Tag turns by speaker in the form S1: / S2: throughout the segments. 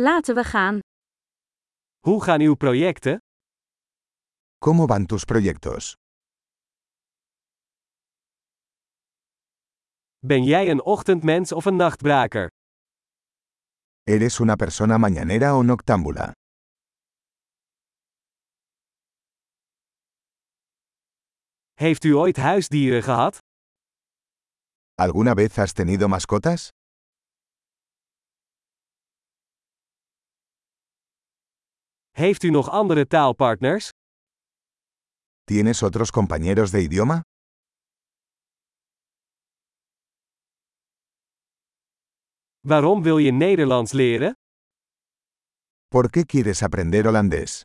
S1: Laten we gaan.
S2: Hoe gaan uw projecten?
S3: ¿Cómo van tus proyectos?
S2: Ben jij een ochtendmens of een nachtbraker?
S3: ¿Eres una persona mañanera o noctámbula?
S2: Heeft u ooit huisdieren gehad?
S3: ¿Alguna vez has tenido mascotas?
S2: Heeft u nog andere taalpartners?
S3: ¿Tienes otros compañeros de idioma?
S2: Waarom wil je Nederlands leren?
S3: ¿Por qué quieres aprender holandés?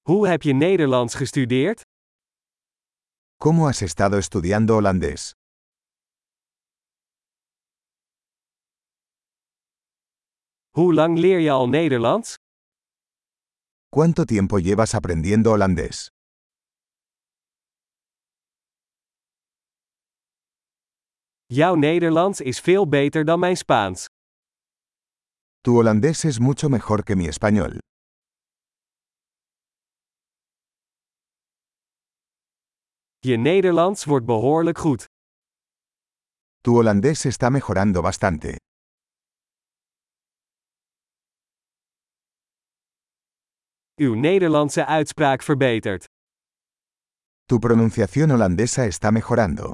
S2: Hoe heb je Nederlands gestudeerd?
S3: ¿Cómo has estado estudiando holandés?
S2: Hoe lang leer je al Nederlands?
S3: ¿Cuánto tiempo llevas aprendiendo holandés?
S2: Jouw Nederlands is veel beter dan mijn Spaans.
S3: Tu holandés es mucho mejor que mi español.
S2: Je Nederlands wordt behoorlijk goed.
S3: Tu holandés está mejorando bastante.
S2: Uw Nederlandse uitspraak verbetert.
S3: Tu pronunciación holandesa está mejorando.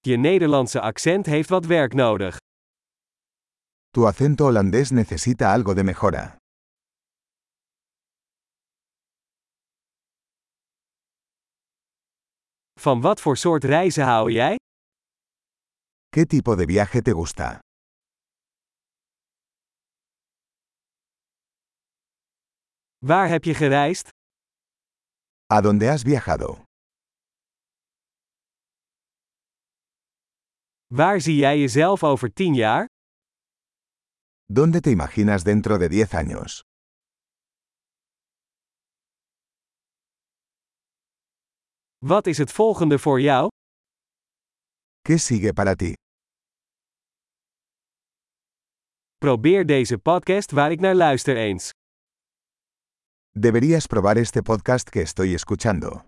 S2: Je Nederlandse accent heeft wat werk nodig.
S3: Tu acento holandés necesita algo de mejora.
S2: Van wat voor soort reizen hou jij?
S3: ¿Qué tipo de viaje te gusta?
S2: Waar heb je gereisd?
S3: ¿A dónde has viajado?
S2: Waar zie jij jezelf over 10 jaar?
S3: ¿Dónde te imaginas dentro de 10 años?
S2: Wat is het volgende voor jou?
S3: ¿Qué sigue para ti?
S2: Probeer deze podcast waar ik naar luister eens.
S3: Deberías probar este podcast que estoy escuchando.